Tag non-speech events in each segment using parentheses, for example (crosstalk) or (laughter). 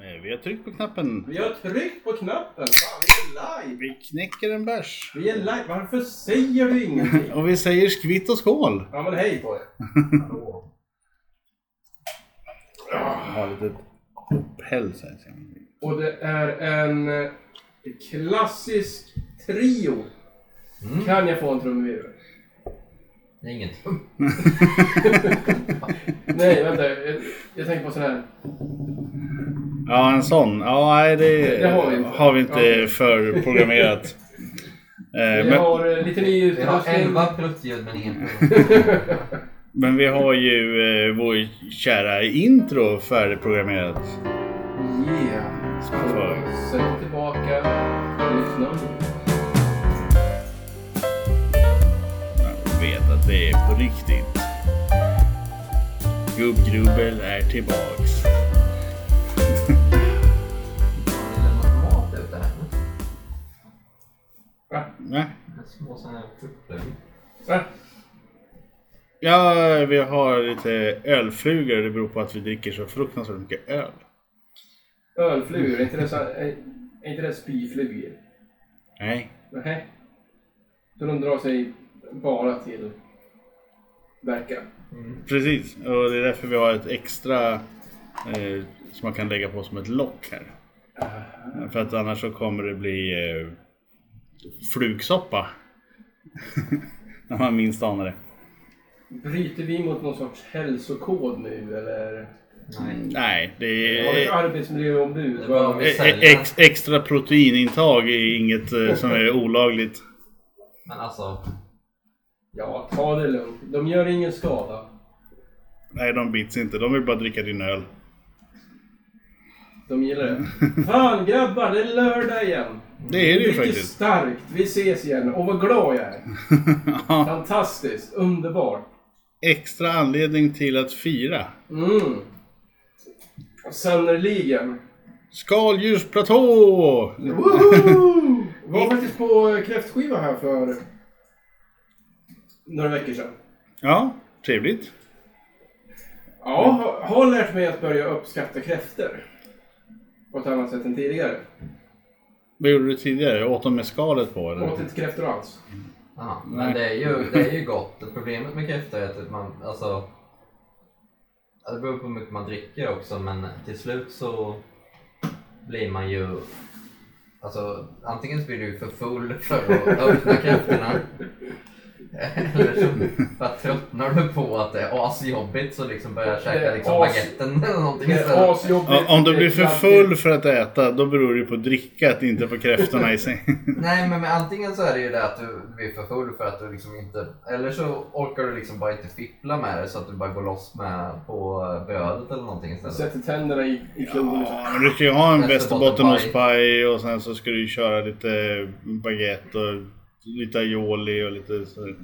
Eh, Vi har tryckt på knappen. Vi har tryckt på knappen. Fan, vi är live. Vi knäcker en bärs. Vi är live. Varför säger du ingenting? Och vi säger skvitt och skål. Ja, men hej på er. Jag har lite päls här. ser man. Och det är en eh, klassisk trio. Mm. Kan jag få en trumvirvel? Det är inget tum. Nej, vänta. Jag, jag tänker på sån här. Ja, en sån. Ja, nej, det, Det har vi inte. Ja. förprogrammerat. Eh, Vi men, har eh, lite ny Vi har utrustning. 11 pruttljud men ingen men vi har ju eh, vår kära intro färdigprogrammerat. Yeah. För. Sätt dig tillbaka. Lyssna. Man vet att det är på riktigt. Gubbgrubbel är tillbaks. lämnat mat ut det här. Va? Nej. Med små sådana här frukter. Va? Ja, vi har lite ölflugor. Det beror på att vi dricker så fruktansvärt mycket öl. Ölflugor, är inte det, så, är, är inte det spyflugor? Nej. Nej. Så de drar sig bara till Berka. Precis, och det är därför vi har ett extra eh, som man kan lägga på som ett lock här. För att annars så kommer det bli eh, (laughs) flugsoppa. När man minst anar det. Bryter vi mot någon sorts hälsokod nu eller? Nej. Nej, det Har vi ett är arbetsmiljöombud? Det var- Vad- e- e- ex, extra proteinintag är inget eh, som är olagligt. Men alltså. Ja, ta det lugnt. De gör ingen skada. Nej, de bits inte. De vill bara dricka din öl. De gillar (laughs) det. Fan grabbar, det är lördag igen! Det är det ju Mycket faktiskt. (laughs) starkt! Vi ses igen! Och vad glad jag är! Ja, Fantastiskt! Underbart! extra anledning till att fira. Mm! Sannerligen! Skaldjursplatå! Woho! Var faktiskt på kräftskiva här för några veckor sedan. Ja, trevligt. Ja, har, har lärt mig att börja uppskatta kräftor. På ett annat sätt än tidigare. Vad gjorde du tidigare? Åt de med skalet på eller? Åt inte kräftor alls. Ja, Nej. men det är, ju, det är ju gott. Problemet med kräftor är att man, alltså. ja, Det beror på hur mycket man dricker också men till slut så blir man ju Alltså antingen så blir du för full för att öppna kräftorna. Eller så bara tröttnar du på att det är asjobbigt så liksom börjar jag Det är käka liksom as- baguetten eller någonting Det istället. är asjobbigt. Ja, om du det är blir för kladdigt. full för att äta, då beror det på drickat, inte på kräftorna i sig. Nej, men, men antingen så är det ju det att du blir för full för att du liksom inte... Eller så orkar du liksom bara inte fippla med det så att du bara går loss med på eh, brödet eller någonting istället. Sätter tänderna i, i klorna. Ja, men du ska ju ha en Västerbottenpaj. västerbottenostpaj och sen så ska du ju köra lite baguette och lite aioli och lite så.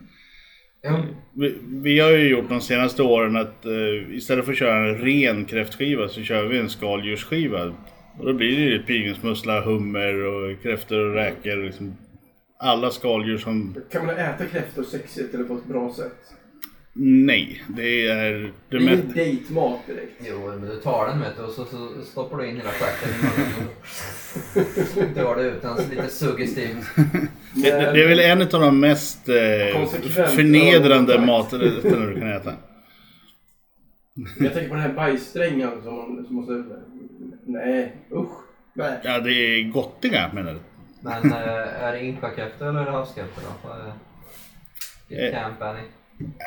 Jo, Vi, vi har ju gjort de senaste åren att eh, istället för att köra en ren kräftskiva så kör vi en skaldjursskiva. Och då blir det ju pilgrimsmussla, hummer och kräftor och räkor. och Liksom alla skaldjur som Kan man äta kräftor sexigt eller på ett bra sätt? Nej, det är Det det är mest... ingen dejtmat direkt. (laughs) jo men du tar den vet du och så, så stoppar du in hela stjärten i munnen. Drar det ut den så lite suggestivt. Det, det, det är väl en av de mest eh, Konsekvent förnedrande ögonkontakt. maträtterna du kan äta. Jag tänker på den här bajssträngen som man som måste... Nej, usch. Nej. Ja, det är gottiga menar du? Men eh, är det insjökräftor eller är det havskräftor då? Vad är det? Eh. Ditt Camp Annie.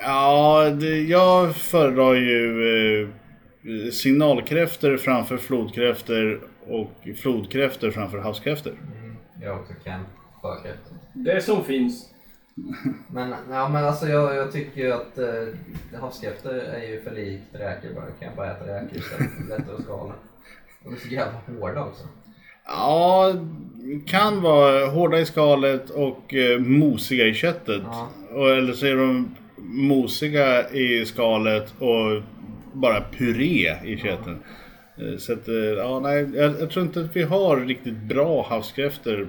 Ja, det, jag föredrar ju eh, signalkräftor framför flodkräftor och flodkräftor framför havskräftor. Mm, jag också Camp sjökräftor. Det som finns. Men, ja, men alltså jag, jag tycker ju att eh, havskräftor är ju för likt räkor bara. Kan jag bara äta räkor istället? Lättare att skala. De är så jävla hårda också. Ja, kan vara hårda i skalet och eh, mosiga i köttet. Ja. Och, eller så är de mosiga i skalet och bara puré i köttet. Eh, Så att, eh, ja, nej, jag, jag tror inte att vi har riktigt bra havskräftor.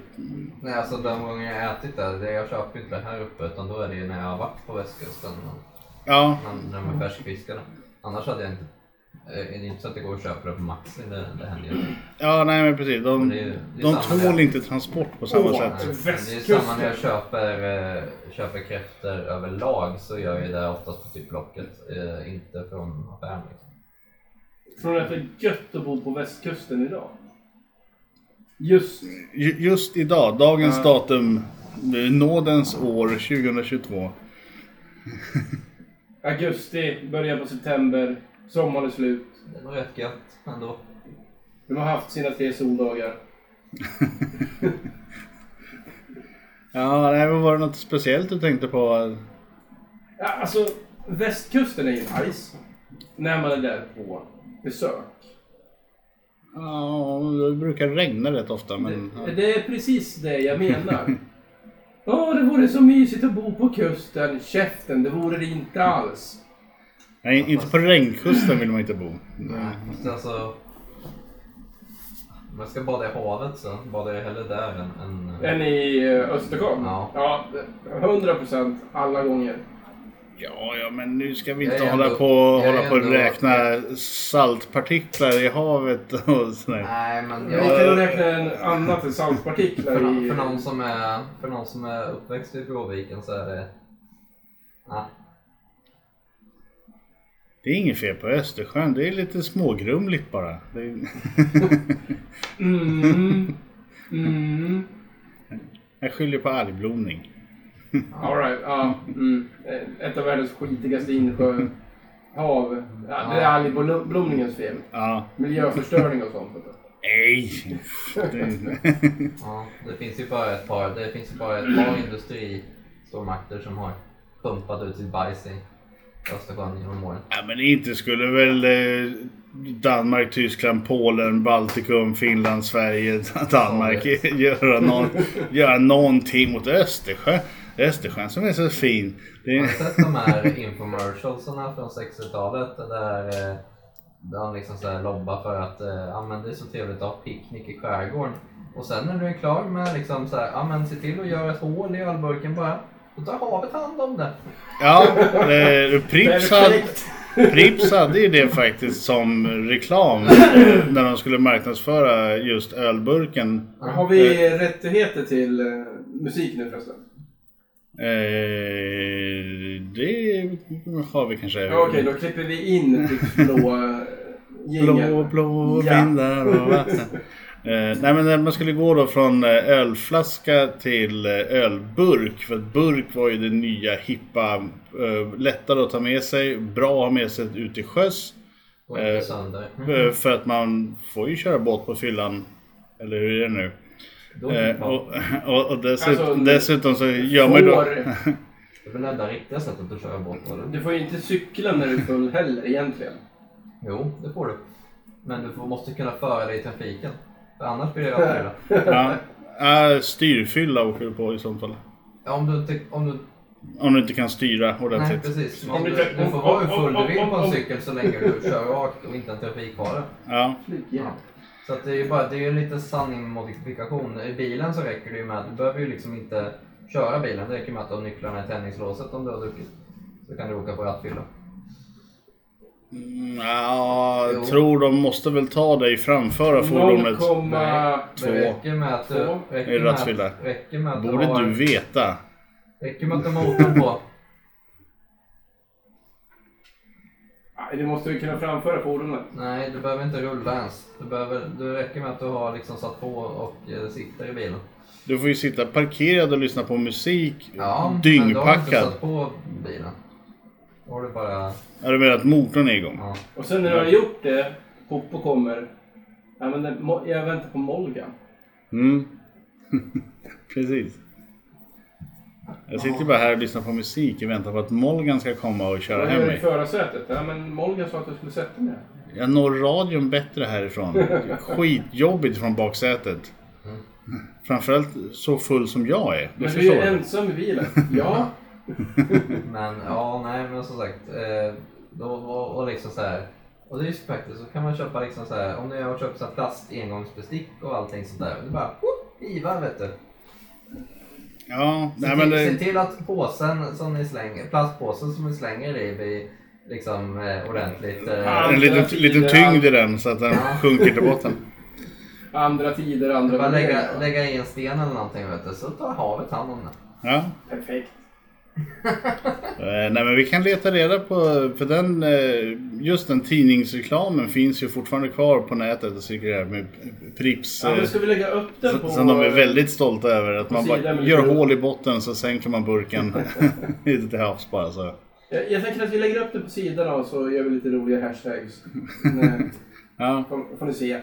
Nej, alltså de gånger jag har ätit det, det jag köper ju inte det här uppe utan då är det ju när jag har varit på västkusten. Ja, När, när de är färskfiskade. Annars hade jag inte Eh, Är det inte så att det går att köpa det på Maxi? Det, det händer ju. inte. Ja, nej men precis. De, Det är- det de är samma tål där. inte transport på samma Åh. sätt. Men Det är samma när jag köper, eh, köper kräftor överlag så gör jag det oftast på typ Blocket, eh, inte från affären. Liksom. Tror du att det är gött att bo på västkusten idag? Just. Ju- Just idag, dagens Ja. datum, eh, nådens år 2022. Augusti, början på september, sommaren är slut. Det är nog rätt gött ändå. De har haft sina tre soldagar. Ja, nej, men var det något speciellt du tänkte på? Ja, alltså, västkusten är ju nice. När man är där på besök. Ja, det brukar regna rätt ofta. Men, det, det är precis det jag menar. (laughs) Åh, det vore så mysigt att bo på kusten. Käften, det vore det inte alls. Nej, inte på regnkusten vill man inte bo. Nej, fast alltså... Om jag ska bada i havet så badar jag hellre där än... än Än i eh, Östersjön? Ja. ja. 100 procent alla gånger. Ja, ja, men nu ska vi Jag inte är hålla ändå- på jag är hålla på och ändå- räkna saltpartiklar i havet och sådär. Nej, men Vi jag... kan räkna en annat än saltpartiklar För, i... för, någon som är, för någon som är uppväxt i Bråviken så är det... Nej, Det är inget fel på Östersjön. Det är lite smågrumligt bara. Det är... Mm. Mm. Jag skyller på algblomning. Alright, ja. Mm. Ett av världens skitigaste insjöhav. Ja, det är algblomningens fel. Ja, Miljöförstöring och sånt. nej. Det- ja, det finns ju bara ett par, det finns ju bara ett par industristormakter som har pumpat ut sitt bajs i Östersjön genom åren. ja, men inte skulle väl eh, Danmark, Tyskland, Polen, Baltikum, Finland, Sverige, (laughs) Danmark göra, någon, göra någonting mot Östersjön. Östersjön som är så fin. Det Har är... du sett de här infomercialsarna från 60-talet där eh, de liksom så här lobbar för att eh, ja, men det är så trevligt att ha picknick i skärgården. Och sen när du är klar med liksom så här, ja, men se till att göra ett hål i ölburken bara. Då tar havet hand om det. Ja, eh, Pripps, hade, Pripps hade ju det faktiskt som reklam eh, när de skulle marknadsföra just ölburken. Har vi rättigheter till eh, musik nu förresten? Eh, det har vi kanske. Ja, Okej, då klipper vi in Pripps blå eh, jingel. Blå, blå Ja. vindar (laughs) och vatten. Eh, nej men när man skulle gå då från eh, ölflaska till eh, ölburk. För att burk var ju det nya hippa. Eh, lättare att ta med sig, bra att ha med sig ut till sjöss. Går inte Eh, sönder. Mm. Mm. Eh, För att man får ju köra båt på fyllan. Eller hur är det nu? Då Eh, och, (laughs) och, och dessutom, Alltså, dessutom så gör man ju då... Får- det är väl det enda riktiga sättet att köra båt på? eller? Du får ju inte cykla när du är full heller egentligen. Jo, det får du. Men du får- måste kunna föra dig i trafiken. För annars blir det överfylla. Ja, ja, styrfylla åker du på i sånt fall. Ja, Om du, inte- om du Om du inte kan styra Nej ordentligt. precis, Om du, vi kan- du får vara hur om- full om- du vill på om- en cykel så länge du kör rakt och inte en trafikfara. Ja, Flygjävel. Så att det är ju bara, det är ju en liten sanning med modifikation. I bilen så räcker det ju med att du behöver ju liksom inte köra bilen. Det räcker med att du har nycklarna i tändningslåset om du har druckit. Så kan du åka på rattfylla. Mm, ja Jo. jag tror de måste väl ta dig framföra fordonet. 0,2. Det räcker med att du, Två. Är räcker det med rattfylla? att, räcker med att du Borde du har, veta. räcker med att du har motorn på. Nej, Du måste ju kunna framföra fordonet. Nej, du behöver inte rulla ens. Du behöver, det räcker med att du har liksom satt på och eh, sitter i bilen. Du får ju sitta parkerad och lyssna på musik. Ja, men då har du inte dyngpackad. satt på bilen. Då har du bara... Ja, du menar att motorn är igång? Ja. Och sen när du har Mm. gjort det, Poppo kommer. Ja, men det, Mo- jag väntar på Molgan. Mm. (laughs) Precis. Jag sitter bara här och lyssnar på musik i väntan på att Molgan ska komma och köra Vad hem gör du i mig. förarsätet? Ja, men Molgan sa att du skulle sätta mig här. Jag når radion bättre härifrån. Skitjobbigt från baksätet. Mm. Framförallt så full som jag är. Du Men du är förstår. ju ensam (laughs) i bilen. Ja, Men ja, nej men som sagt. Eh, då, och, och liksom så här. Och det är ju så praktiskt. Så kan man köpa liksom så här. Om du har köpt så här plast engångsbestick och allting sånt där. Du bara whoop, hivar vet du. Ja, Se, nej men till, det... se till att påsen som ni slänger, plastpåsen som ni slänger i vid, liksom eh, ordentligt. Ja. Eh, En liten, liten tyngd i den så att den Ja. sjunker till (laughs) botten. Andra tider, andra bara lägga, värderingar. lägga i en sten eller någonting vet du, så tar havet hand om den. Ja. Perfekt. Eh, Nej men vi kan leta reda på, för den, eh, just den tidningsreklamen finns ju fortfarande kvar på nätet och cirkulerar med Prips. Ja, eh, men ska vi lägga upp den på... så- Som de är väldigt stolta över. Att på man bara sidan med gör lite- hål i botten så sänker man (laughs) burken (laughs) ute till havs bara. Så. Jag, jag tänker att vi lägger upp den på sidan och så gör vi lite (laughs) roliga hashtags. Nej, Ja. får, får ni se.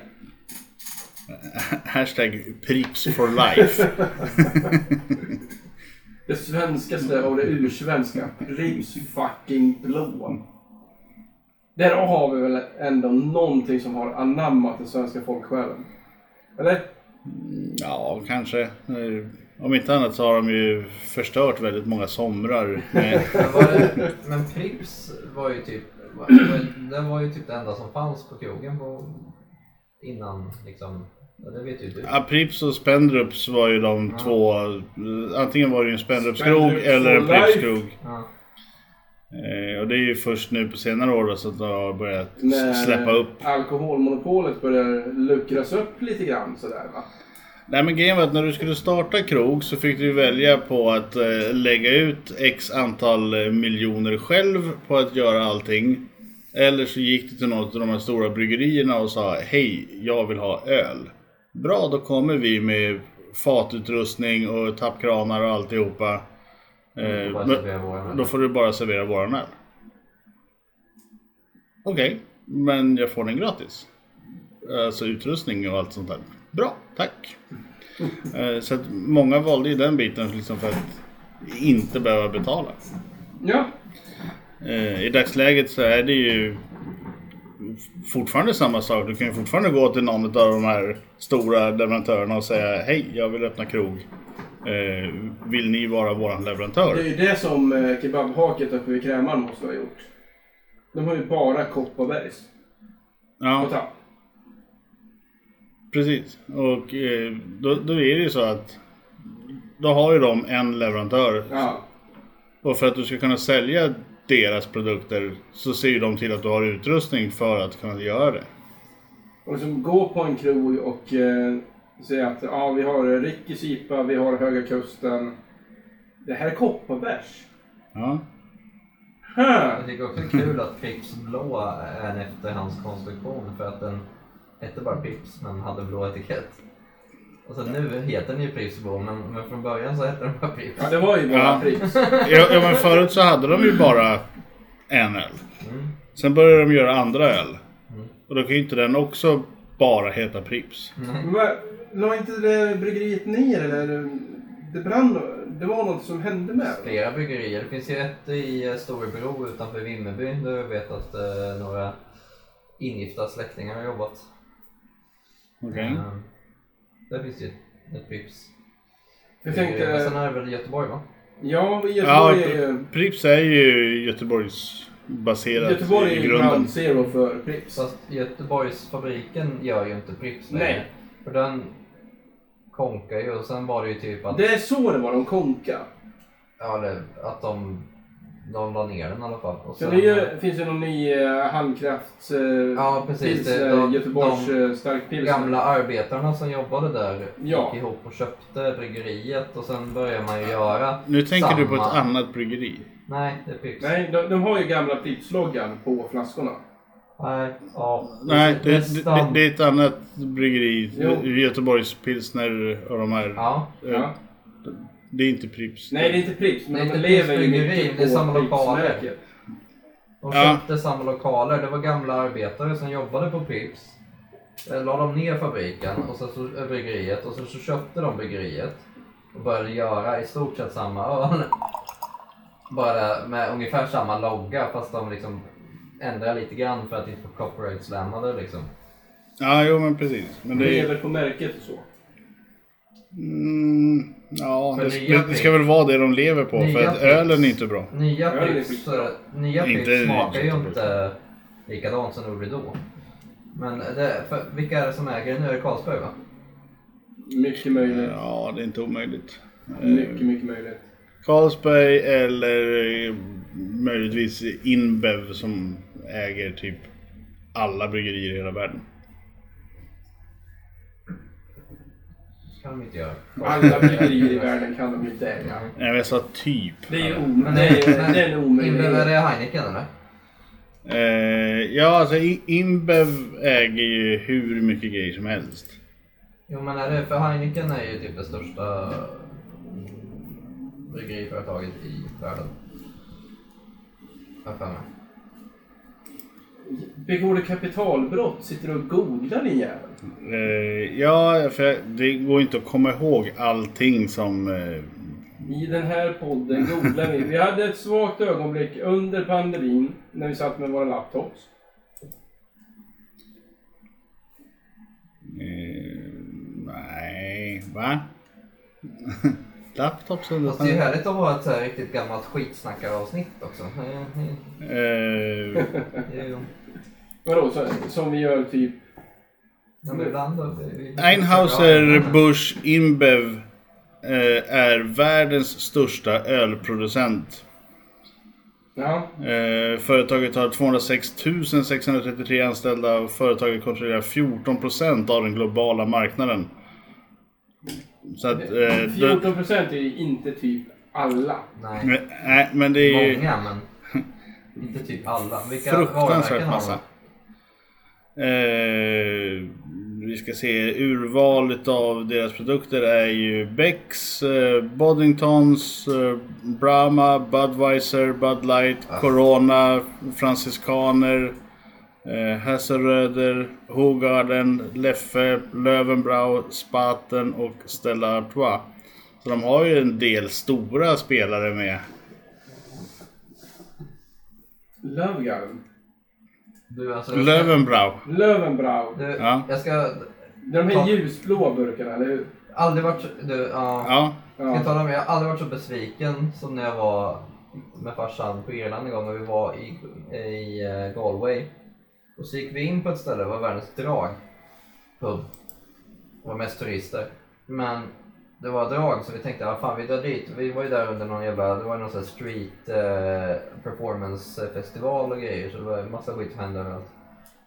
Hashtag Prips for (laughs) life. Det svenskaste och det ursvenska. Rips fucking blå. Där har vi väl ändå någonting som har anammat den svenska folksjälen. Eller? Ja, kanske. Eh, Om inte annat så har de ju förstört väldigt många somrar. Med... Men, var det, men Pripps var ju typ var, var, det var ju typ det enda som fanns på krogen på, innan liksom. Ja, det vet ju du. Ja, Prips och Spendrups var ju de Ja. två. eh, Antingen var det ju en Spendrupskrog Spendrups eller en for life. Pripskrog. Ja. Eh, och det är ju först nu på senare år då, så att de har börjat s- När släppa upp. alkoholmonopolet börjar luckras upp lite grann sådär va. Nej men grejen var att när du skulle starta krog så fick du ju välja på att eh, lägga ut x antal eh, miljoner själv på att göra allting. Eller så gick du till något av de här stora bryggerierna och sa Hej, jag vill ha öl. Bra, då kommer vi med fatutrustning och tappkranar och alltihopa. Eh, Bara men- servera våran. Då får du bara servera våran öl. Okej, men jag får den gratis. Alltså utrustning och allt sånt där. Bra, tack. Eh, Så att många valde ju den biten liksom för att inte behöva betala. Ja, Eh, I dagsläget så är det ju fortfarande samma sak. Du kan ju fortfarande gå till någon av de här stora leverantörerna och säga Hej, jag vill öppna krog. Eh, Vill ni vara våran leverantör? det är ju det som eh, kebabhaket uppe vid Krämaren måste ha gjort. De har ju bara Kopparbergs Ja. på tapp. Precis, och eh, då, då är det ju så att då har ju de en leverantör Ja, och för att du ska kunna sälja deras produkter så ser ju de till att du har utrustning för att kunna göra det. och liksom gå på en krog och eh, säga att ja, vi har Rickis IPA, vi har Höga Kusten. Det här är Kopparbergs. Ja, Huh. Jag tycker också det är kul att Pripps blå är en efterhandskonstruktion för att den hette bara Pripps men hade blå etikett. Och så nu heter den ju Pripps blå men, men från början så hette den bara Pripps. Ja, det var ju bara Ja. Pripps. ja, ja men förut så hade de ju bara en öl. Mm. Sen började de göra andra öl Mm. och då kan ju inte den också bara heta Prips. Mm. Men La inte det bryggeriet ner eller? Det brann. Det var något som hände med det. Flera bryggerier. Det finns ju ett i eh, Storebro utanför Vimmerby där jag vet att eh, några ingifta släktingar har jobbat. Okej. Mm. Eh, där finns ju ett Pripps. Jag bryggeri. Men sen tänkte, är det väl i Göteborg va? ja, i Ja, Göteborg är ju... Prips är ju Göteborgs baserat Göteborg är i ju grunden. ground zero för Pripps. Fast Göteborgsfabriken gör ju inte Pripps längre. Nej. För den konkar ju och sen var det ju typ att, Det är så det var, de konka. ja, eller, att de, de la ner den i alla fall. Och Sen det är ju, finns det någon ny eh, handkrafts... Eh, Alltså- ja precis, pils, det, eh, de, Göteborgs de eh, starkpilsner. gamla arbetarna som jobbade där Ja. gick ihop och köpte bryggeriet och sen började man ju göra, Nu tänker du på ett Samma. annat bryggeri. nej det är Pripps. Nej, de, de har ju gamla Pripps-loggan på flaskorna. Nej, ja, Nej, det, det, nästan. det, det är ett annat bryggeri. Jo. Göteborgs pilsner och de här. Ja, Eh, Ja. Det är inte Prips. Nej, det är inte Pripps, men Det är de inte lever ju Pripps bryggeri, mycket det är på samma lokaler. Pripps-märket. De Ja. köpte samma lokaler. Det var gamla arbetare som jobbade på Pripps. Eh, La de ner fabriken och så, så, eh, bryggeriet och så, så köpte de bryggeriet och började göra i stort sett samma öl. (laughs) Bara med ungefär samma logga fast de liksom ändrade lite grann för att inte få copyright slammade liksom. Ja, jo men precis. Men det är, Lever på märket och så. mm, ja, För det, nya det, det ska väl vara det de lever på. Nya För att Pripps. ölen är inte bra. Nya Ja, det är Pripps, skitbra. eh, nya Inte Pripps smakar ju riktigt. inte likadant som de gjorde då. Men det, för, vilka är det som äger det nu? Är det Carlsberg va? Mycket möjligt. Ja, det är inte omöjligt. Mycket, mycket möjligt. Carlsberg eller eh, möjligtvis Inbev som äger typ alla bryggerier i hela världen. kan de inte göra. Alla bryggerier i världen kan de inte äga. Nej, men jag sa typ. Det är ju om- det är- det är en Inblandar omöjlighet. det Heineken eller? Eh, ja, alltså I- Inbev äger ju hur mycket grejer som helst. Jo men är det, för Heineken är ju typ det största bryggeriföretaget i världen. Har jag för mig. Begår du kapitalbrott? Sitter du och googlar din jävel? Eh, ja, för det går inte att komma ihåg allting som... Eh, I den här podden googlar vi. Vi hade ett svagt ögonblick under pandemin när vi satt med våra laptops. eh, nej, va? (laughs) Laptops under... Fast det är ju härligt att ha ett så här riktigt gammalt skitsnackaravsnitt också. Det Eh, är ju- Vadå, så, som vi gör typ... Ja, men ibland då. det är ju- Einhauser Busch Inbev eh, är världens största ölproducent. Ja, Eh, företaget har 206 633 anställda och företaget kontrollerar 14% av den globala marknaden. Så att... Eh, då, 14 procent är ju inte typ alla. Nej, men, nej, men det är ju... många men inte typ alla. Vilka Fruktansvärt varumärken har massa. de? Eh, vi ska se, urvalet av deras produkter är ju Becks, eh, Boddingtons, eh, Brahma, Budweiser, Bud Light, Ah. Corona, Franziskaner, eh, Hasselröder, Hogarden, Leffe, Löwenbrau, Spaten och Stella Artois. Så de har ju en del stora spelare med. Lövgarden. Du, alltså, jag ska- Löwenbrau. Lövenbrau. Du, Ja. jag ska De här ljusblå burkarna, eller hur? aldrig varit så- du, ja. Ja. Ska jag Ja. tala om, jag har aldrig varit så besviken som när jag var med farsan på Irland en gång och vi var i, i eh, Galway. Och så gick vi in på ett ställe, det var världens drag. Pub. Det var mest turister. Men det var drag så vi tänkte, ja fan vi drar dit. Vi var ju där under någon jävla, det var någon sån här street eh, performance festival och grejer så det var massa skit som hände överallt.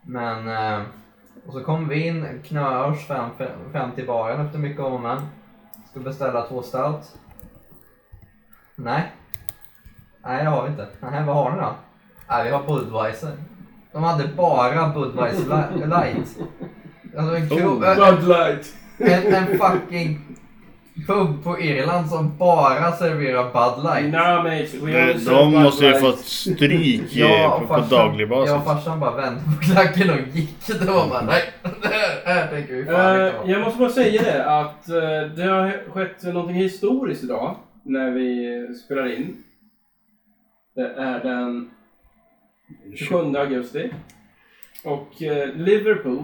Men, eh, och så kom vi in, knöörs fram, fram till baren efter mycket om och men. Ska beställa två stout. Nej. Nej, det har vi inte. Nej, vad har ni då? Nej, vi har Budweiser. De hade bara Budweiser li- light. Alltså en, kro- Oh. ö- Bud Light. en, en fucking pub på Irland som bara serverar Bud Light. Nah, mate, we only De, serve Bud måste ju ha Light. fått stryk eh, på, på farsan- daglig basis. Jag och farsan bara vände på klacken och gick. Det var bara nej, det här, det här tänker vi fan inte Eh, ha. jag måste bara säga det att eh, det har skett någonting historiskt idag när vi eh, spelar in. Det är den 27 augusti. Och eh, Liverpool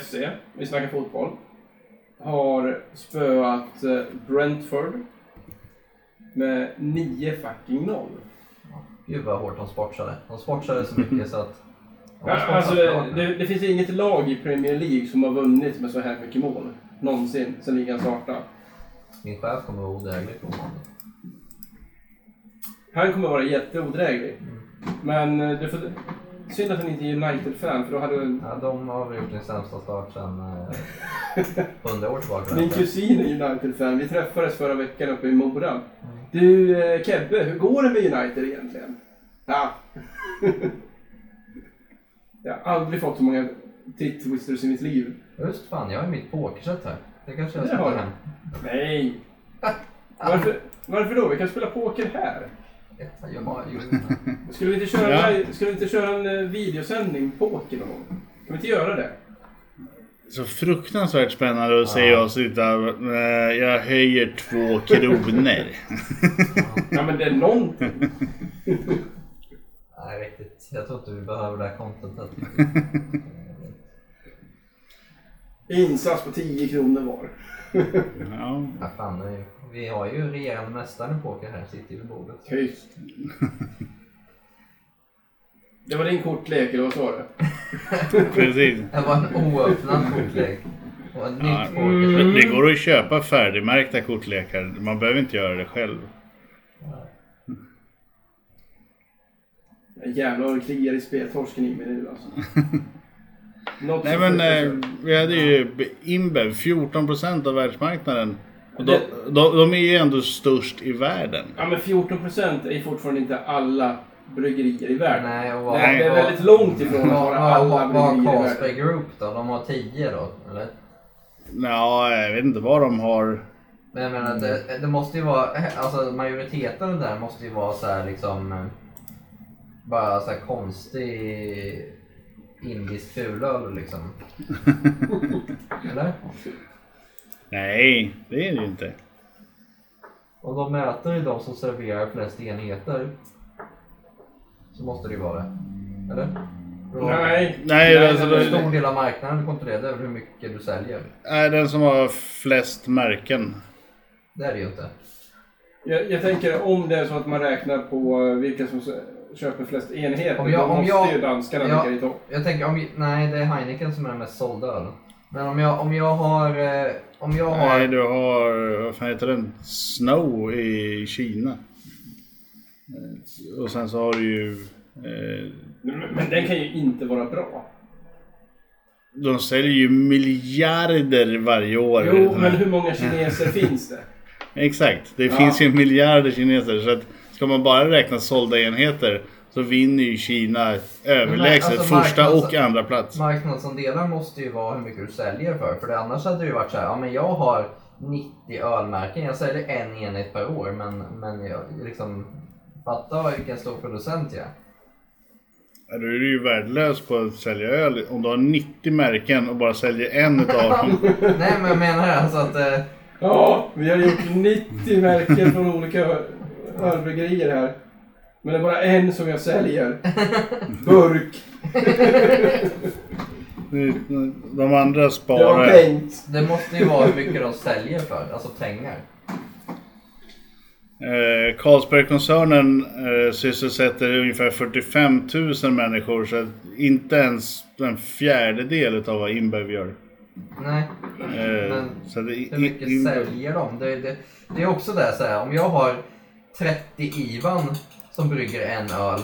FC, vi snackar fotboll, har spöat eh, Brentford med 9 fucking 0. Gud vad hårt de sportsade. De sportsade så mycket så att... de har Ja, sportsat Alltså, bra. det, det finns inget lag i Premier League som har vunnit med så här mycket mål någonsin sedan ligan startade. Min chef kommer ihåg det här mycket på måndag. Han kommer vara jätteodräglig. Men eh, det får... synd att han inte är United-fan för då hade... Ja, de har väl gjort den sämsta start sedan eh, 100 år tillbaka. (laughs) Min kusin är United-fan. Vi träffades förra veckan uppe i Mora. Du eh, Kebbe, hur går det med United egentligen? Ja. (laughs) Jag har aldrig fått så många titt-twisters i mitt liv. Just fan, jag har mitt pokerset här. Det kanske jag Det ska ta har du. hem. Nej! Varför, varför då? Vi kan spela poker här. Jag bara, jo, Skulle vi inte köra, Ja. skulle vi inte köra en eh, videosändning poker någon gång? Kan vi inte göra det? Så fruktansvärt spännande att se oss utan... eh, Jag höjer två kronor. Ja men det är någonting. nej, riktigt. Jag tror inte vi behöver det här contentet. Insats på 10 kronor var. ja. Ja, fan, nu- vi har ju regerande mästaren i poker här, sitter ju vid bordet. Tyst. (laughs) Det var din kortlek, eller vad sa du? Precis. Det var en oöppnad kortlek. Och ett Ja. nytt pokerset. Mm. Det går att köpa färdigmärkta kortlekar. Man behöver inte göra det själv. Jävlar, det kliar i speltorsken i mig nu (laughs) alltså. Något Nej som men skjuter eh, sig. vi hade ju Inbev, 14% av världsmarknaden. Och de, Det- de, de är ju ändå störst i världen. Ja men 14 procent är fortfarande inte alla bryggerier i världen. Nej, och vad- Nej, det är vad- väldigt långt ifrån att Vad vara alla vad- vad har bryggerier i Carlsberg världen. Group då? De har 10 då, eller? Ja, jag vet inte vad de har. Men jag menar, att det, det måste ju vara, alltså majoriteten där måste ju vara så här liksom eh, bara så här konstig indisk fulöl liksom. Eller? Nej, det är det ju inte. Om de mäter i de som serverar flest enheter så måste det ju vara det. Eller? Nej. Nej, Nej, alltså, men en det, stor del av marknaden kontrollerar över hur mycket du säljer. nej, den som har flest märken. Det är det ju inte. Jag, jag tänker om det är så att man räknar på eh, vilka som s- köper flest enheter. Om jag- då om måste jag- ju danskarna ja. ligga i topp. Jag tänker, om, nej det är Heineken som är den mest sålda ölen. Men om jag, om jag har... eh, Om jag har... Nej, du har, vad fan heter den? Snow i Kina. Eh, Och sen så har du ju, eh, Men, men den kan ju inte vara bra. de säljer ju miljarder varje år. Jo, men hur många kineser finns det? Exakt, det Ja. finns ju miljarder kineser. Så att ska man bara räkna sålda enheter så vinner ju Kina överlägset alltså, första marknads- och andra plats. Marknadsandelar måste ju vara hur mycket du säljer för. För det, annars hade det ju varit så här, ja men jag har 90 ölmärken, jag säljer en enhet per år. Men, men jag liksom, fatta vad- vilken stor producent jag är. Då är du ju värdelös på att sälja öl om du har 90 märken och bara säljer en utav dem. Nej men jag menar alltså att eh, Ja, vi har gjort 90 märken från olika ö- ölbryggerier här. Men det är bara en som (laughs) jag säljer. Burk. De andra Det var sparar. Bengt. det måste ju vara hur mycket de säljer för, alltså pengar. Eh, Carlsbergkoncernen eh, sysselsätter ungefär 45 000 människor så att inte ens en fjärdedel utav vad Inbev gör. Nej, Eh, Men så att det- hur mycket Inbev- säljer de? Det, det, det är också det så här, om jag har 30 Ivan som brygger en öl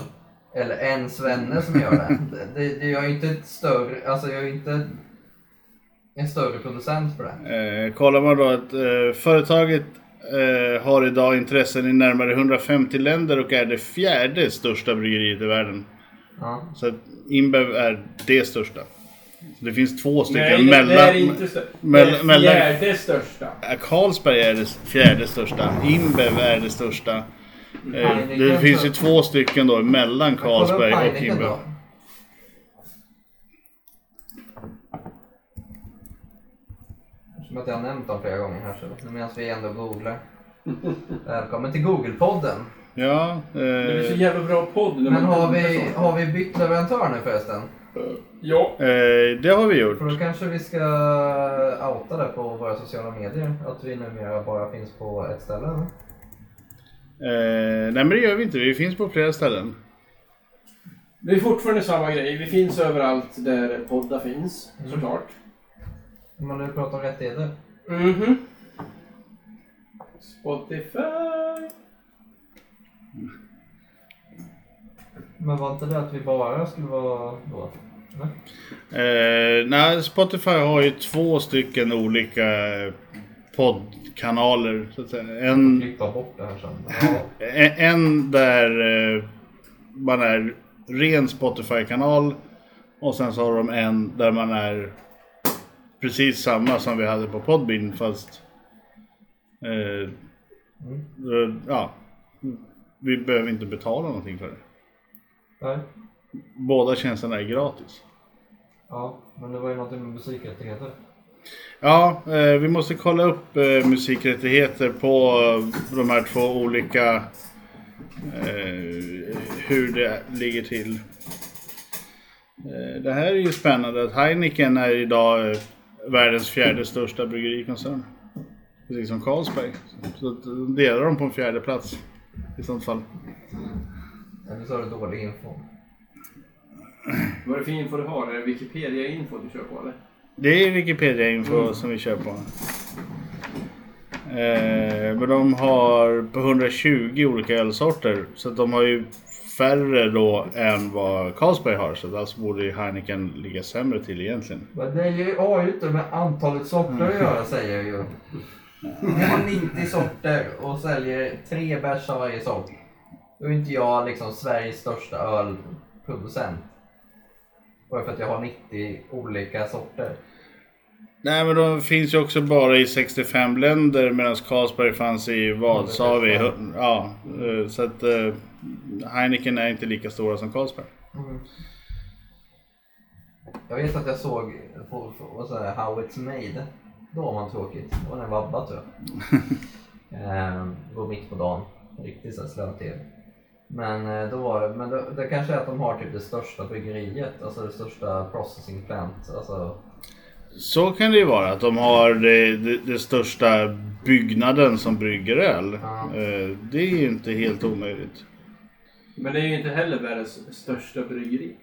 eller en Svenne som gör det. det, det, det jag är ju inte ett större, alltså jag är ju inte en större producent för det. Eh, kollar man då att eh, företaget eh, har idag intressen i närmare 150 länder och är det fjärde största bryggeriet i världen. Ja. Så att Inbev är det största. Så det finns två stycken Nej, det- mellan. det är inte störst. Det mellan- är fjärde största. Ja, Äh, Carlsberg är det fjärde största. Inbev är det största. Eh, Heineken det finns ju så- två stycken då mellan Kolla upp Carlsberg och Heineken Inbev. då. Som att jag har nämnt dem flera gånger här så medan vi ändå googlar. Välkommen till Google-podden. Ja, Det blir så eh, jävla bra podd när Men man har googlar vi, sånt. har vi bytt leverantör nu förresten? Ja. eh, det har vi gjort. För då kanske vi ska outa det på våra sociala medier. Att vi numera bara finns på ett ställe. eller? Eh, nej men det gör vi inte. Vi finns på flera ställen. Det är fortfarande samma grej. Vi finns överallt där poddar finns, Mm. såklart. Om man nu pratar om rättigheter. Mm-hmm. Mhm. Spotify. Men var inte det att vi bara skulle vara då? Eller? Eh, nej, Spotify har ju två stycken olika eh, poddkanaler. Så att säga. En, Klippa bort det (laughs) här sen. Ja. e- en där eh, man är ren Spotify-kanal och sen så har de en där man är precis samma som vi hade på Podbean fast eh, eh, ja, vi behöver inte betala någonting för det. Nej. Båda tjänsterna är gratis. Ja, men det var ju någonting med musikrättigheter. Ja, eh, vi måste kolla upp eh, musikrättigheter på eh, de här två olika eh, hur det ligger till. Eh, det här är ju spännande att Heineken är idag eh, världens fjärde största bryggerikoncern. Precis som Carlsberg. Så att de delar de på en fjärde plats i sånt fall. Eller så har du dålig info. Vad är det för info du har? Är det Wikipedia-info du kör på eller? Det är Wikipedia-info som vi kör på. Eh, men de har på 120 olika ölsorter. Så att de har ju färre då än vad Carlsberg har. Så att alltså borde ju Heineken ligga sämre till egentligen. Men det är ju A ute med antalet sorter att göra säger jag ju. Ni Mm. har 90 sorter och säljer tre bärs av varje sort. Då är inte jag liksom Sveriges största ölproducent. Bara för att jag har 90 olika sorter. Nej men de finns ju också bara i 65 länder medan Carlsberg fanns i Warszawa. i hu- Ja, eh, så att eh, Heineken är inte lika stora som Carlsberg. Jag vet att jag såg på, på, vad sa jag, How It's Made. Då var man tråkigt. Då var den vabba tror (laughs) jag. Ehm, Går mitt på dagen. Riktigt så här slö-tv. Men eh, då var det, men det, det kanske är att de har typ det största bryggeriet, alltså det största processing plant. Alltså, Så kan det ju vara, att de har det, det, det största byggnaden som brygger öl. Ja. Eh, Det är ju inte helt omöjligt. Men det är ju inte heller världens största bryggeri.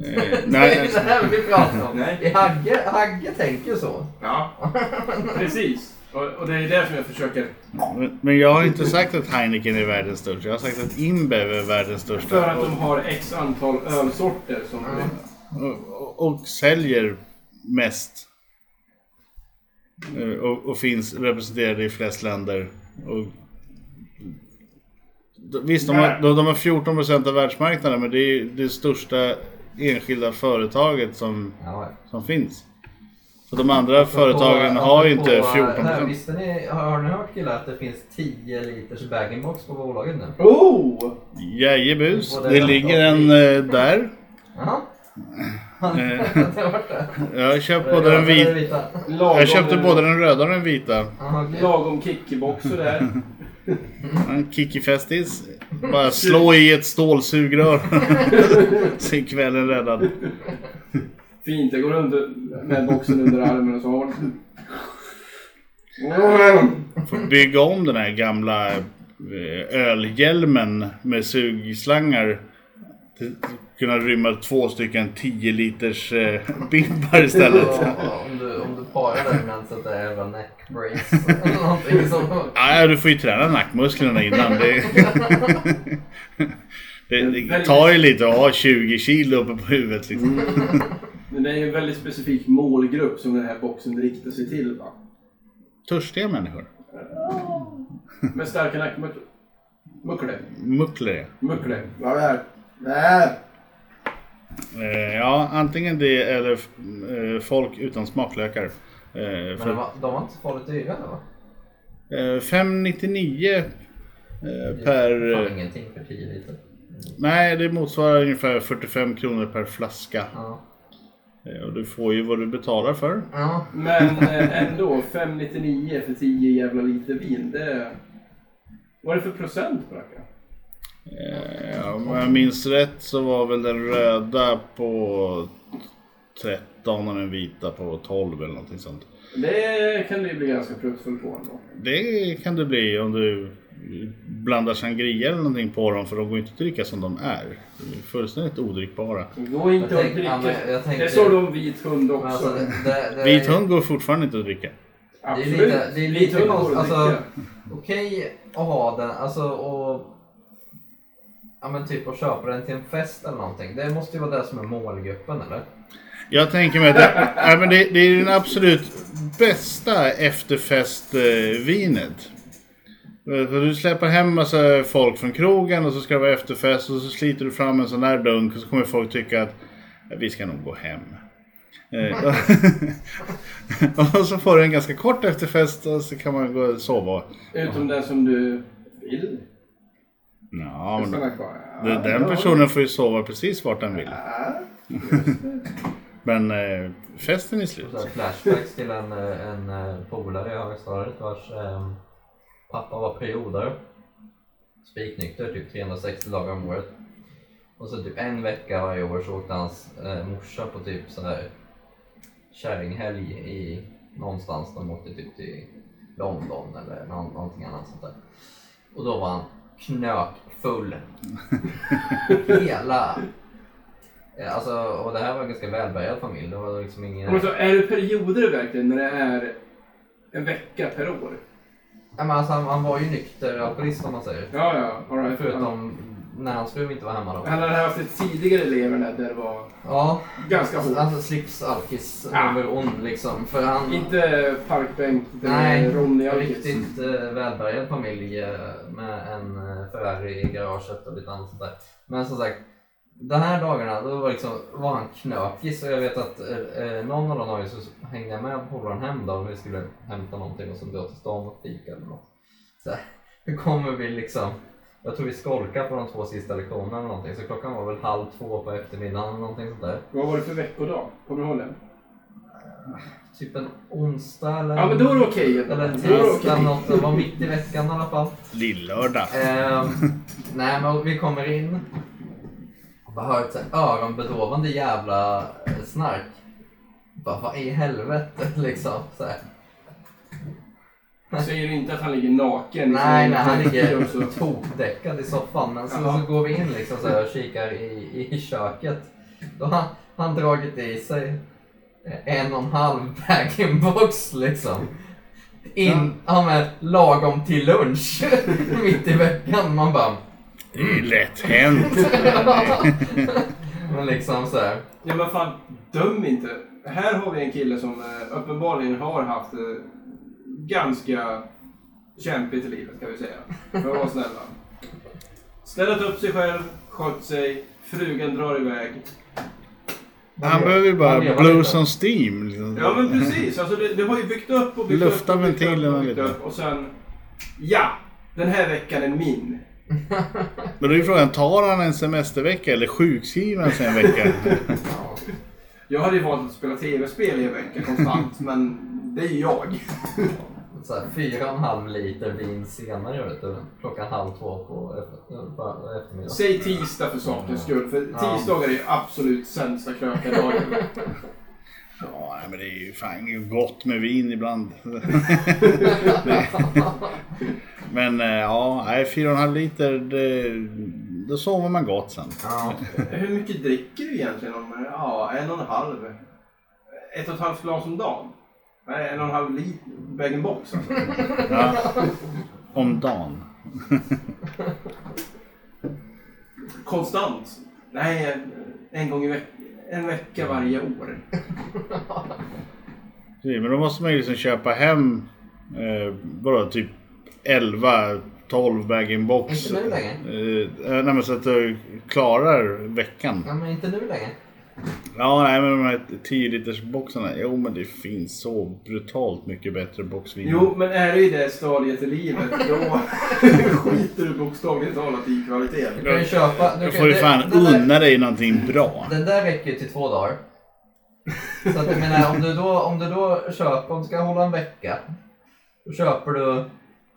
Eh, det är Nej, ju det här vi pratar om. Nej. I Hagge, Hagge tänker ju så. Ja, (laughs) precis. Och, och det är därför jag försöker. men- men jag har inte sagt att Heineken är världens största. Jag har sagt att Imbev är världens För största. att Och, de har x antal ölsorter som... och, och säljer mest. Eh, Och, och finns representerade i flest länder. Och, De- visst, de har, de, de har 14 procent av världsmarknaden, men det är ju det största enskilda företaget som Ja, som finns. Så de andra företagen Apropå- har ju inte apropå, 14 det här, Visste ni, har, har ni hört killar att det finns 10 liters bag-in-box på bolaget nu? Oh! Jajebus, Och det det är ligger en ändå- eh, där. Jaha. Eh, det har varit det. Jag har köpt Det både är den det vita. vita. Lagom, Jag köpte både den röda och den vita. Jaha, okej. Lagom kickboxer där. En Kiki Festis. Bara slå i ett stålsugrör. (laughs) Så är kvällen räddad. Fint, jag går runt med boxen under armen och så har den. Får bygga om den här gamla eh, ölhjälmen med sugslangar. Till- Kunna rymma två stycken 10 liters eh, bibbar istället. Ja, Om du, om du parar den med en sån där jävla neck brace eller någonting som... Nej, du får ju träna nackmusklerna innan. Det, (laughs) det, det tar ju lite att ha 20 kilo uppe på huvudet. Liksom. Men det är ju en väldigt specifik målgrupp som den här boxen riktar sig till va? Törstiga människor. Med starka nackmuskler. Muckle. Mucklare. Muckle. Vad är det? Eh, ja, antingen det eller eh, folk utan smaklökar. Eh, Men de för, var, de var inte så farligt dyra eller va? eh, 599 eh, per... Fan, Eh, ingenting för 10 liter. nej, det motsvarar ungefär 45 kronor per flaska. Ja. Eh, och du får ju vad du betalar för. Ja. Men eh, ändå, 599 för 10 jävla liter vin. Det... Vad är det för procent på det här? Eh, om jag minns rätt så var väl den röda på 13 och den vita på 12 eller någonting sånt. Det kan det ju bli ganska pruttfull på ändå. Det kan det bli om du blandar sangria eller någonting på dem för de går ju inte att dricka som de är. De är fullständigt odrickbara. Gå inte Jag och tänk- ja, dricka. men jag tänker- Det såg de vit hund Men också. alltså, det, det, det, Vit hund går fortfarande inte att dricka. Det är Absolut. lite, det är vit lite hund går att konstigt. Alltså, dricka. okej att ha den, alltså och... Ja men typ att köpa den till en fest eller någonting. Det måste ju vara det som är målgruppen eller? Jag tänker mig att det, nej, men det, det är den absolut bästa efterfestvinet. Eh, För du släpper hem massa folk från krogen och så ska det vara efterfest och så sliter du fram en sån där dunk och så kommer folk tycka att "Ja, vi ska nog gå hem. Eh, (laughs) och så får du en ganska kort efterfest och så kan man gå och sova. Utom den som du vill. Ja, men Stanna kvar. Den, den personen får ju sova precis vart den vill. Men eh, festen är slut. Så här flashbacks till en, eh, en eh, polare i högstadiet vars ehm, pappa var periodare. Spiknykter typ 360 dagar om året. Och så typ en vecka varje år så åkte hans eh, morsa på typ så här kärringhelg i någonstans. De åkte typ till London eller nå- någonting annat sånt där. Och då var han knökfull. Hela... eh, Alltså, och det här var en ganska välbärgad familj. Det var liksom ingen... Men så är det perioder verkligen när det är en vecka per år? Nej, men alltså, han, han var ju nykter alkoholist om man säger. Ja, ja. All right. Förutom när hans fru inte var hemma då. Han hade haft ett tidigare lever där det var Ja, ganska hårt. alltså slips alkis Ja. över ond liksom. För han... Inte parkbänk, det Nej, är Ronny Alkis. riktigt eh, välbärgad familj eh, med en eh, Ferrari i garaget och lite annat sånt där. Men som sagt, de här dagarna då var, liksom, var han knökis och jag vet att eh, eh, någon av de dagarna så hängde jag med polaren hem då om vi skulle hämta någonting och så dra till stan och fika eller något. Så här, hur kommer vi liksom? Jag tror vi skolkade på de två sista lektionerna eller någonting så klockan var väl halv två på eftermiddagen eller någonting sånt där. Vad var det för veckodag? Kommer du ihåg det? Typ en onsdag eller? Ja, men då är det okej. Eller en Då är det tisdag okej. eller något. Det var mitt i veckan i alla fall. Lillördag. Ehm, nej men vi kommer in och bara hör ett så här öronbedåvande jävla eh, snark. Bara vad i helvete (laughs) liksom. Så här. Säger du inte att han ligger naken? Nej nej han ligger Också. (laughs) tokdäckad i soffan. Men så, Jaha. så går vi in liksom så här, och kikar i, i köket. Då har han dragit i sig en och en halv bag-in-box liksom. In, ja. men, lagom till lunch (laughs) mitt i veckan. Man bara Det är lätt hänt. Men liksom så här. Ja, men fan, döm inte. Här har vi en kille som eh, uppenbarligen har haft eh, ganska kämpigt i livet kan vi säga. För att vara snälla. Städat upp sig själv, skött sig, frugan drar iväg. Han behöver ju bara Han lever lite. blues on steam. Liksom. Ja men precis, alltså det, det har ju byggt upp och byggt Lufta upp. och byggt upp och ventilerna byggt lite. upp Och sen, ja! Den här veckan är min. Men då är ju frågan, tar han en semestervecka eller sjukskriver han sig en (laughs) vecka? Ja. Jag hade ju valt att spela tv-spel i en vecka konstant, men det är ju jag. Så här, fyra och en halv liter vin senare, vet du. Klockan halv två på, efter- på eftermiddagen. Säg tisdag för sakens skull, för Ja. tisdagar är ju absolut sämsta krökardagen. Ja, nej, men det är ju fan gott med vin (laughs) ibland. men eh, ja, nej, fyra och en halv liter, det, då sover man gott sen. Ja. Hur mycket dricker du egentligen? Om, eh, ja, en och en halv. Ett och ett halvt glas om dagen. Nej, En och en halv liter bag box alltså. Ja. Om dagen. Konstant. Nej, en gång i veckan. En vecka varje år. Precis, Men då måste man ju liksom köpa hem, eh, vadå, typ 11, 12 bag-in-box. Inte nu Eh, längre. nej men så att du klarar veckan. ja, men inte nu längre. Ja, nej men de här 10 liters boxarna. Jo men det finns så brutalt mycket bättre boxvin. Jo, men är du i det stadiet i livet då (laughs) skiter du bokstavligt talat i kvaliteten. Du kan ju köpa... Då kan- får du det- fan den där- unna dig någonting bra. Den där räcker ju till (laughs) två dagar. Så att jag menar, om du då, om du då köper, om du ska hålla en vecka, då köper du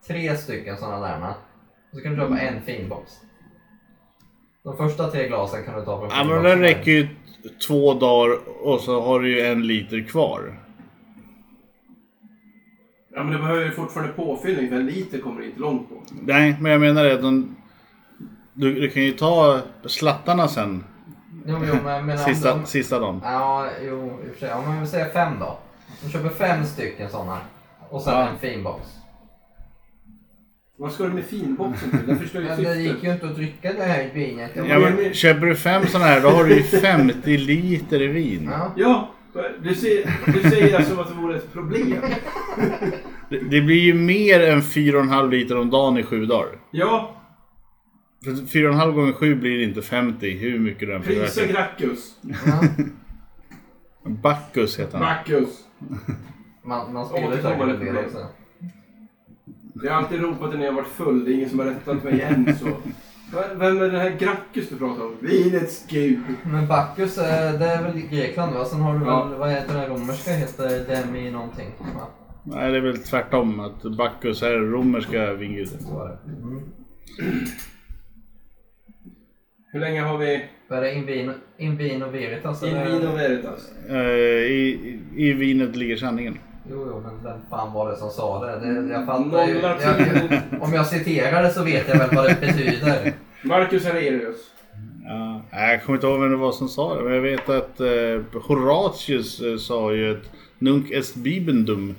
tre stycken sådana där. Och så kan du köpa Mm. en finbox. De första tre glasen kan du ta från Ja men den räcker ju två dagar och så har du ju en liter kvar. Ja, men du behöver ju fortfarande påfyllning för en liter kommer du inte långt på. Nej, men jag menar det att de, du, du kan ju ta slattarna sen. Jo, men, jo, men, jag menar, om Sista, de- sista dagen. Ja, jo, i och för sig. Om man vill säga fem då. De köper fem stycken sådana. Och sen Ja. en fin box. Vad ska du med finboxen till? Den förstör ju Men det gick syftet. ju inte att dricka det här vinet. Ja, men, köper du fem sådana här då har du ju 50 liter vin. Ja. Ja, du säger, du säger det som att det vore ett problem. Det, det blir ju mer än 4,5 liter om dagen i sju dagar. Ja, För 4,5 gånger 7 blir inte 50 hur mycket den prisa förverkar. Gracchus. Ja. Bacchus heter han. Gracchus. Man, man Åh, det skulle kommer säkert lite det mer. också. Jag har alltid ropat det när jag varit full. Det är ingen som har rättat mig än. Så. V- Vem är den här Gracchus du pratar om? Vinets gud. Men Bacchus, eh, det är väl i Grekland va? Sen har du väl, Ja. vad heter den romerska? Heter Demi någonting? Va? Nej, det är väl tvärtom. Att Bacchus är den romerska vinguden. Så var det. Mm. Hur länge har vi Var det Invino, Invino Alltså, Veritas? eller? Invino Veritas? Eh, I, I vinet ligger sanningen. Jo, jo, men vem fan var det som sa det? det jag fattar ju. Noll Jag, latin. om jag citerar det så vet jag väl vad det betyder. Marcus Aurelius. Ja, nej, jag kommer inte ihåg vem det var som sa det, men jag vet att eh, Horatius eh, sa ju att Nunc est bibendum.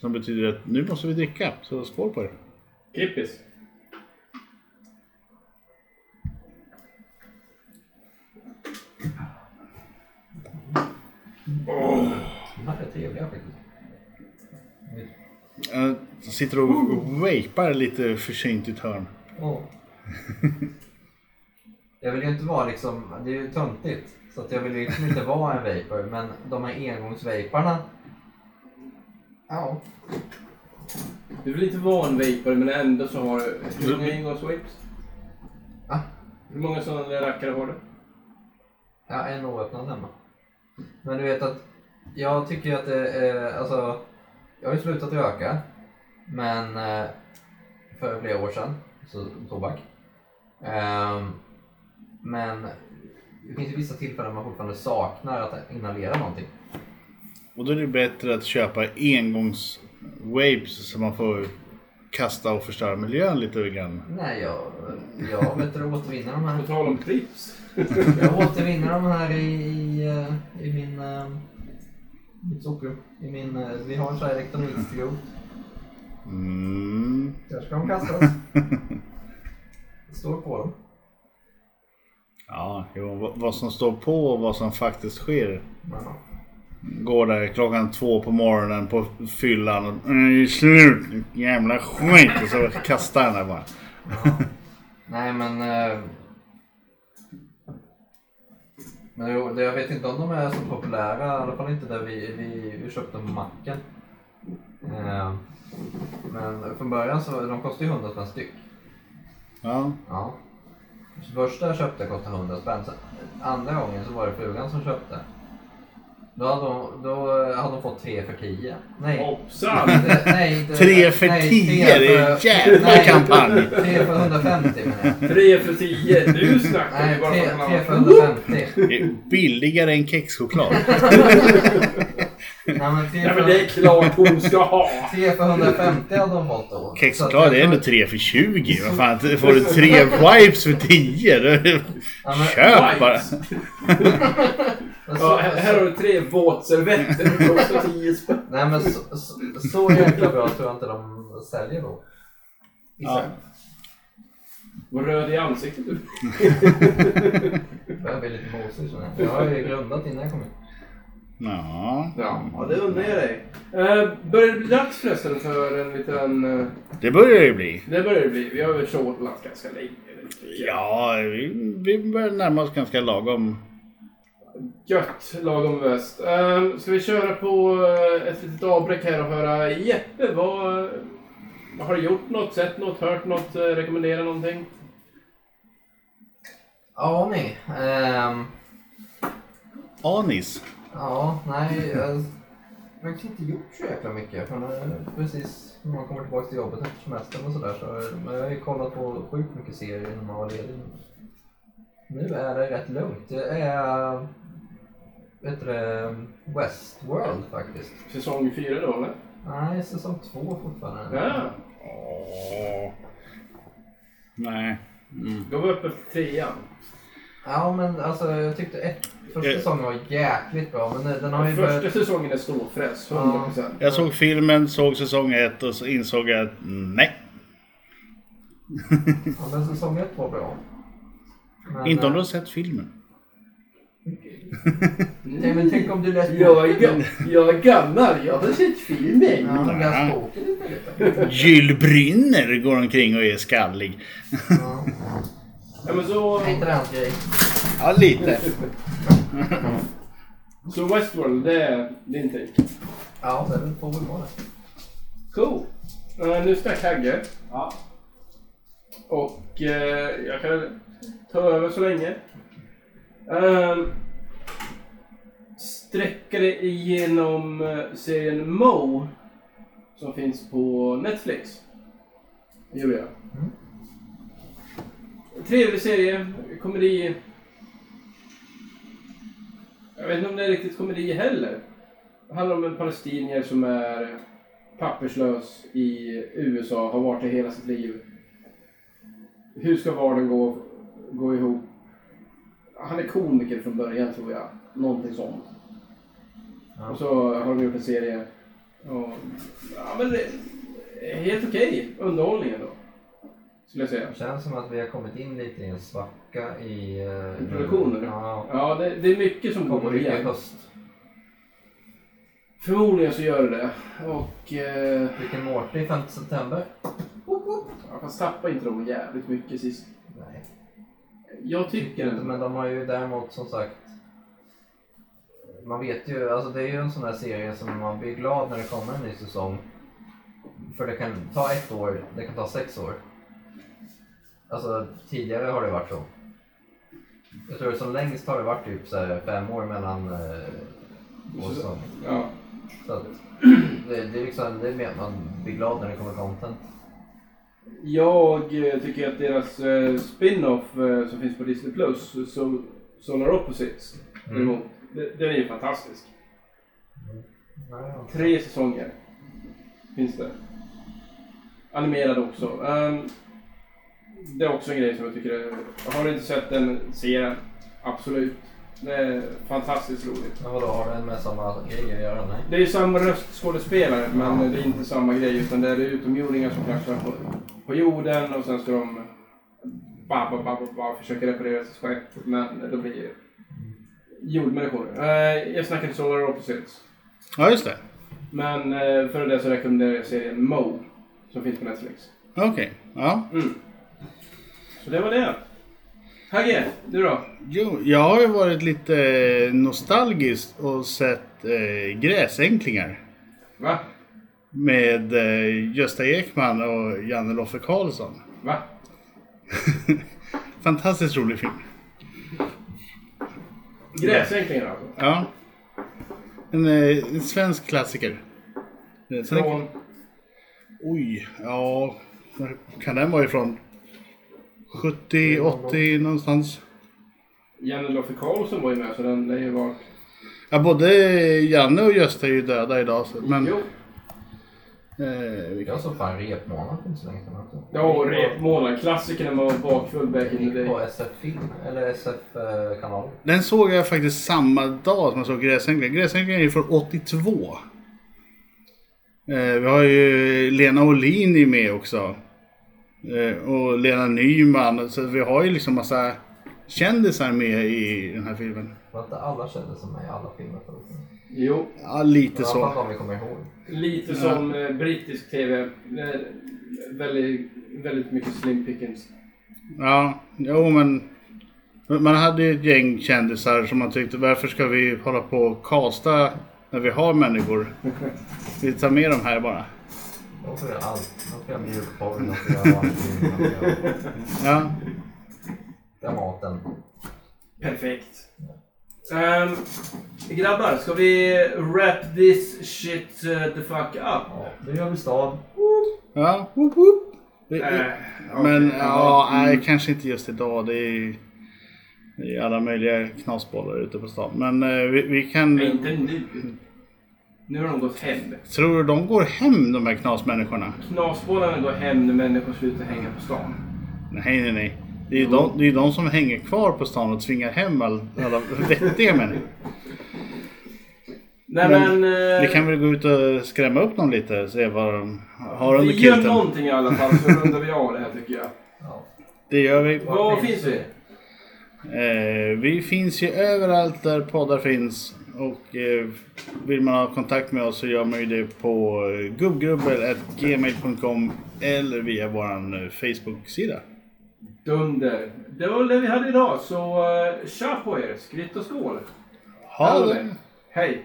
Som betyder att nu måste vi dricka, så skål på er. Kippis. (laughs) De här är trevliga faktiskt. Jag Eh, sitter och vapar lite försynt i ett hörn. Åh. (laughs) Jag vill ju inte vara liksom, det är ju töntigt. Så att jag vill ju liksom inte vara en vapor. Men de här engångsvaporna. Ja. Du är lite vanvapor men ändå så har du... Hur många engångsvapes? Ah, Hur många sådana där rackare har du? Ja, en oöppnad hemma. Men du vet att jag tycker ju att det är, alltså, jag har ju slutat röka. Men eh, för flera år sedan, så tobak. Ehm, men det finns ju vissa tillfällen man fortfarande saknar att inhalera någonting. Och då är det bättre att köpa engångs-vapes som man får kasta och förstöra miljön lite grann. Nej, jag, jag vet du, återvinner de På här. tal om (laughs) Pripps. Jag återvinner de här i, i, eh, i min, eh, mitt soprum. I min, eh, vi har en sån här elektronikskrubb. Mm. Där ska de kastas. Det står på dem. Ja, jo, vad- vad som står på och vad som faktiskt sker. Ja. Går där klockan två på morgonen på fyllan och "Mm, slut, jävla skit. Och så kastar han där bara. Ja. Nej men... eh, Men jo, det- jag vet inte om de är så populära, i alla fall inte där vi, vi, vi köpte dem på macken. Eh, Men från början så de kostade ju 100 spänn styck. Ja, Ja. Så Första jag köpte kostade 100 spänn. Sen andra gången så var det frugan som köpte. Då hade de, då eh, hade de fått tre för 10. Nej. Hoppsan! inte- nej inte, Tre för nej, tio, tre det är en för- jävla nej, kampanj. Tre för 150 menar jag. Tre för tio. Nu snackar Nej, vi bara tre- för tre för annan. 150. Det är billigare än kexchoklad. Nej, men tre Ja men för- det är klart hon ska ha! tre för 150 hade de fått då. Så Kexchoklad att det är jag- ändå tre för 20. Vad fan, inte- får du tre wipes för 10? Ja, men- Köp bara. men så- Ja, här, här har du tre våtservetter. Det kostar tio spänn. Nej men så, så, så jäkla bra tror jag inte de säljer då. Ja. Vad röd i ansiktet du Jag blir lite mosig känner jag. Jag har ju grundat innan jag kom hit. Ja. Ja, det undrar jag dig. Eh, börjar det bli dags förresten för en liten... eh, Det börjar ju bli. det börjar det bli. Vi har väl tjålat ganska länge. Ja, vi, vi börjar närma oss ganska lagom. Gött, lagom väst. Eh, ska vi köra på eh, ett litet avbräck här och höra Jeppe, vad... vad har du gjort något, sett något, hört något, eh, rekommenderat någonting? Ja ni. Ehm, Anis. ja, nej. Jag har faktiskt inte gjort så jäkla mycket. För när, precis när man kommer tillbaka till jobbet efter semestern och sådär. Så, men jag har ju kollat på sjukt mycket serier när man var ledig. Nu är det rätt lugnt. Det är... Vet du det, Westworld faktiskt. Säsong fyra då eller? Nej, säsong två fortfarande. Ja, Åh. Nej. Mm. då var vi uppe efter trean. Ja, men alltså jag tyckte ett, första Eh. säsongen var jäkligt bra. Men den har ju börjat... Första säsongen är ståfräs, 100%. Jag såg filmen, såg säsong ett och så insåg jag att nej. Ja, men säsong ett var bra. Men, Inte om eh, du har sett filmen. Nej, men tänk om du läst Jag boken. är, ga- jag är gammal, jag har sett filmen. Ja, men läs Ja. boken istället. Jill Brynner går omkring och är skallig. Ja. Ja, men så, Det är inte det hans grej. Ja, lite. så Westworld, det är din take. Ja, det är väl på väl vara det. Cool. Eh, nu stack Hagge. Ja. Och eh, jag kan väl ta över så länge. Ehm, sträckade igenom eh, serien Mo. Som finns på Netflix. Det gjorde jag. Mm. Trevlig serie. Komedi. Jag vet inte om det är riktigt komedi heller. Det handlar om en palestinier som är papperslös i USA. Har varit det hela sitt liv. Hur ska vardagen gå, gå ihop? Han är komiker från början tror jag. Någonting sånt. Ja. Och så har de gjort en serie. Och, ja, men det, helt okej underhållning ändå. Skulle jag säga. Det känns som att vi har kommit in lite i en svacka i... eh, I produktionen? Ja, Ja, det, det är mycket som kommer kommer mycket i igen. höst. Förmodligen så gör du det. Och... Eh, Vilken Mårten i 5 september? ja, fast tappa inte dem jävligt mycket sist. Nej, Jag tycker tycker inte. ändå... Men de har ju däremot som sagt... Man vet ju, alltså det är ju en sån här serie som man blir glad när det kommer en ny säsong. För det kan ta ett år, det kan ta sex år. Alltså tidigare har det varit så. Jag tror som längst har det varit typ så här fem år mellan eh, två Så- säsonger. Ja. Så att det, det är liksom, det är mer att man blir glad när det kommer content. Jag eh, tycker att deras eh, spin-off eh, som finns på Disney Plus, som Solar Opposites, Mm. däremot, de- den är ju fantastisk. Ja, Tre säsonger finns det. Animerad också. Ehm, det är också en grej som jag tycker är... Har du inte sett den, se den. Absolut. Det är fantastiskt roligt. Men vadå, har den med samma grejer att göra? Nej. Det är ju samma röstskådespelare, men det är inte samma grej. Utan det är utomjordingar som kraschar på, på jorden och sen ska de bara, bara, bara, bara försöka reparera sitt skepp. Men då blir det jordmänniskor. Uh, jag snackade Solar Opposites. Ja, just det. Men eh, före det så rekommenderar jag serien Mo som finns på Netflix. Okej. Ja. Mm. Så det var det. Hagge, du då? Jo, jag har ju varit lite nostalgisk och sett eh, Gräsänklingar. Va? Med eh, Gösta Ekman och Janne Loffe Karlsson. Va? (laughs) Fantastiskt rolig film. Gräsänklingar alltså? Ja. En, eh, en svensk klassiker. Eh, sen- Från... Oj, ja. När kan den vara ifrån? 70, 80 någonstans. Janne Loffe Karlsson var ju med så den lär ju vara... Ja, både Janne och Gösta är ju döda idag. Så, men, Jo. eh, vi kan... Jag såg fan Repmånad för inte så länge sedan också. Ja, och repmålaren. Klassikern var bakfull back Jag in the gick på day. SF-film, eller eh, SF-kanal. Den såg jag faktiskt samma dag som jag såg Gräsänklingar. Gräsänklingar är ju från 82. Eh, vi har ju Lena Olin är med också. Eh, och Lena Nyman. Så vi har ju liksom massa kändisar med i den här filmen. Var inte alla kände som mig i alla filmer förut? Jo. Ja, lite I så. alla fall de vi kommer ihåg. Lite som eh, brittisk TV. Eh, väldigt, väldigt mycket slim pickings. Ja, jo men men man hade ju ett gäng kändisar som man tyckte varför ska vi hålla på och kasta när vi har människor? Vi tar med dem här bara. De får göra allt. De får göra mjukporr, de får göra vanlig film, de får göra Ja, Dramaten. Perfekt. Ehm, grabbar, ska vi wrap this shit eh, the fuck up? Ja, nu gör vi stad. ja. Woop woop. Det- Eh, Men okej, ja, mm. nej, kanske inte just idag. Det är ju det är alla möjliga knasbollar ute på stan. Men eh, vi, vi kan... Nej, inte nu. Nu har de gått hem. Tror du de går hem de här knasmänniskorna? Knasbollarna går hem när människor slutar hänga på stan. Nej, nej, nej. Det är ju de, det är ju de som hänger kvar på stan och tvingar hem all, alla vettiga människor. Nej men... Men eh, Vi kan väl gå ut och skrämma upp dem lite se vad de har under vi gör kilten. någonting i alla fall så rundar vi av det här tycker jag. Ja. Det gör vi. Var Var finns vi? Eh, vi finns ju överallt där poddar finns. Och eh, vill man ha kontakt med oss så gör man ju det på eh, gubbgrubbel.gmail.com eller via vår Facebook-sida. Dunder. Det var det vi hade idag så uh, kör på er. Skritt och skål. Ha det! Hej.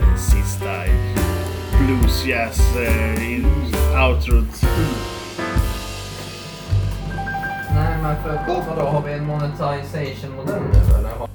Eh, Sista blues jazz eh, in- outrot. Nej, men för vadå, har vi en monetization-modell nu eller?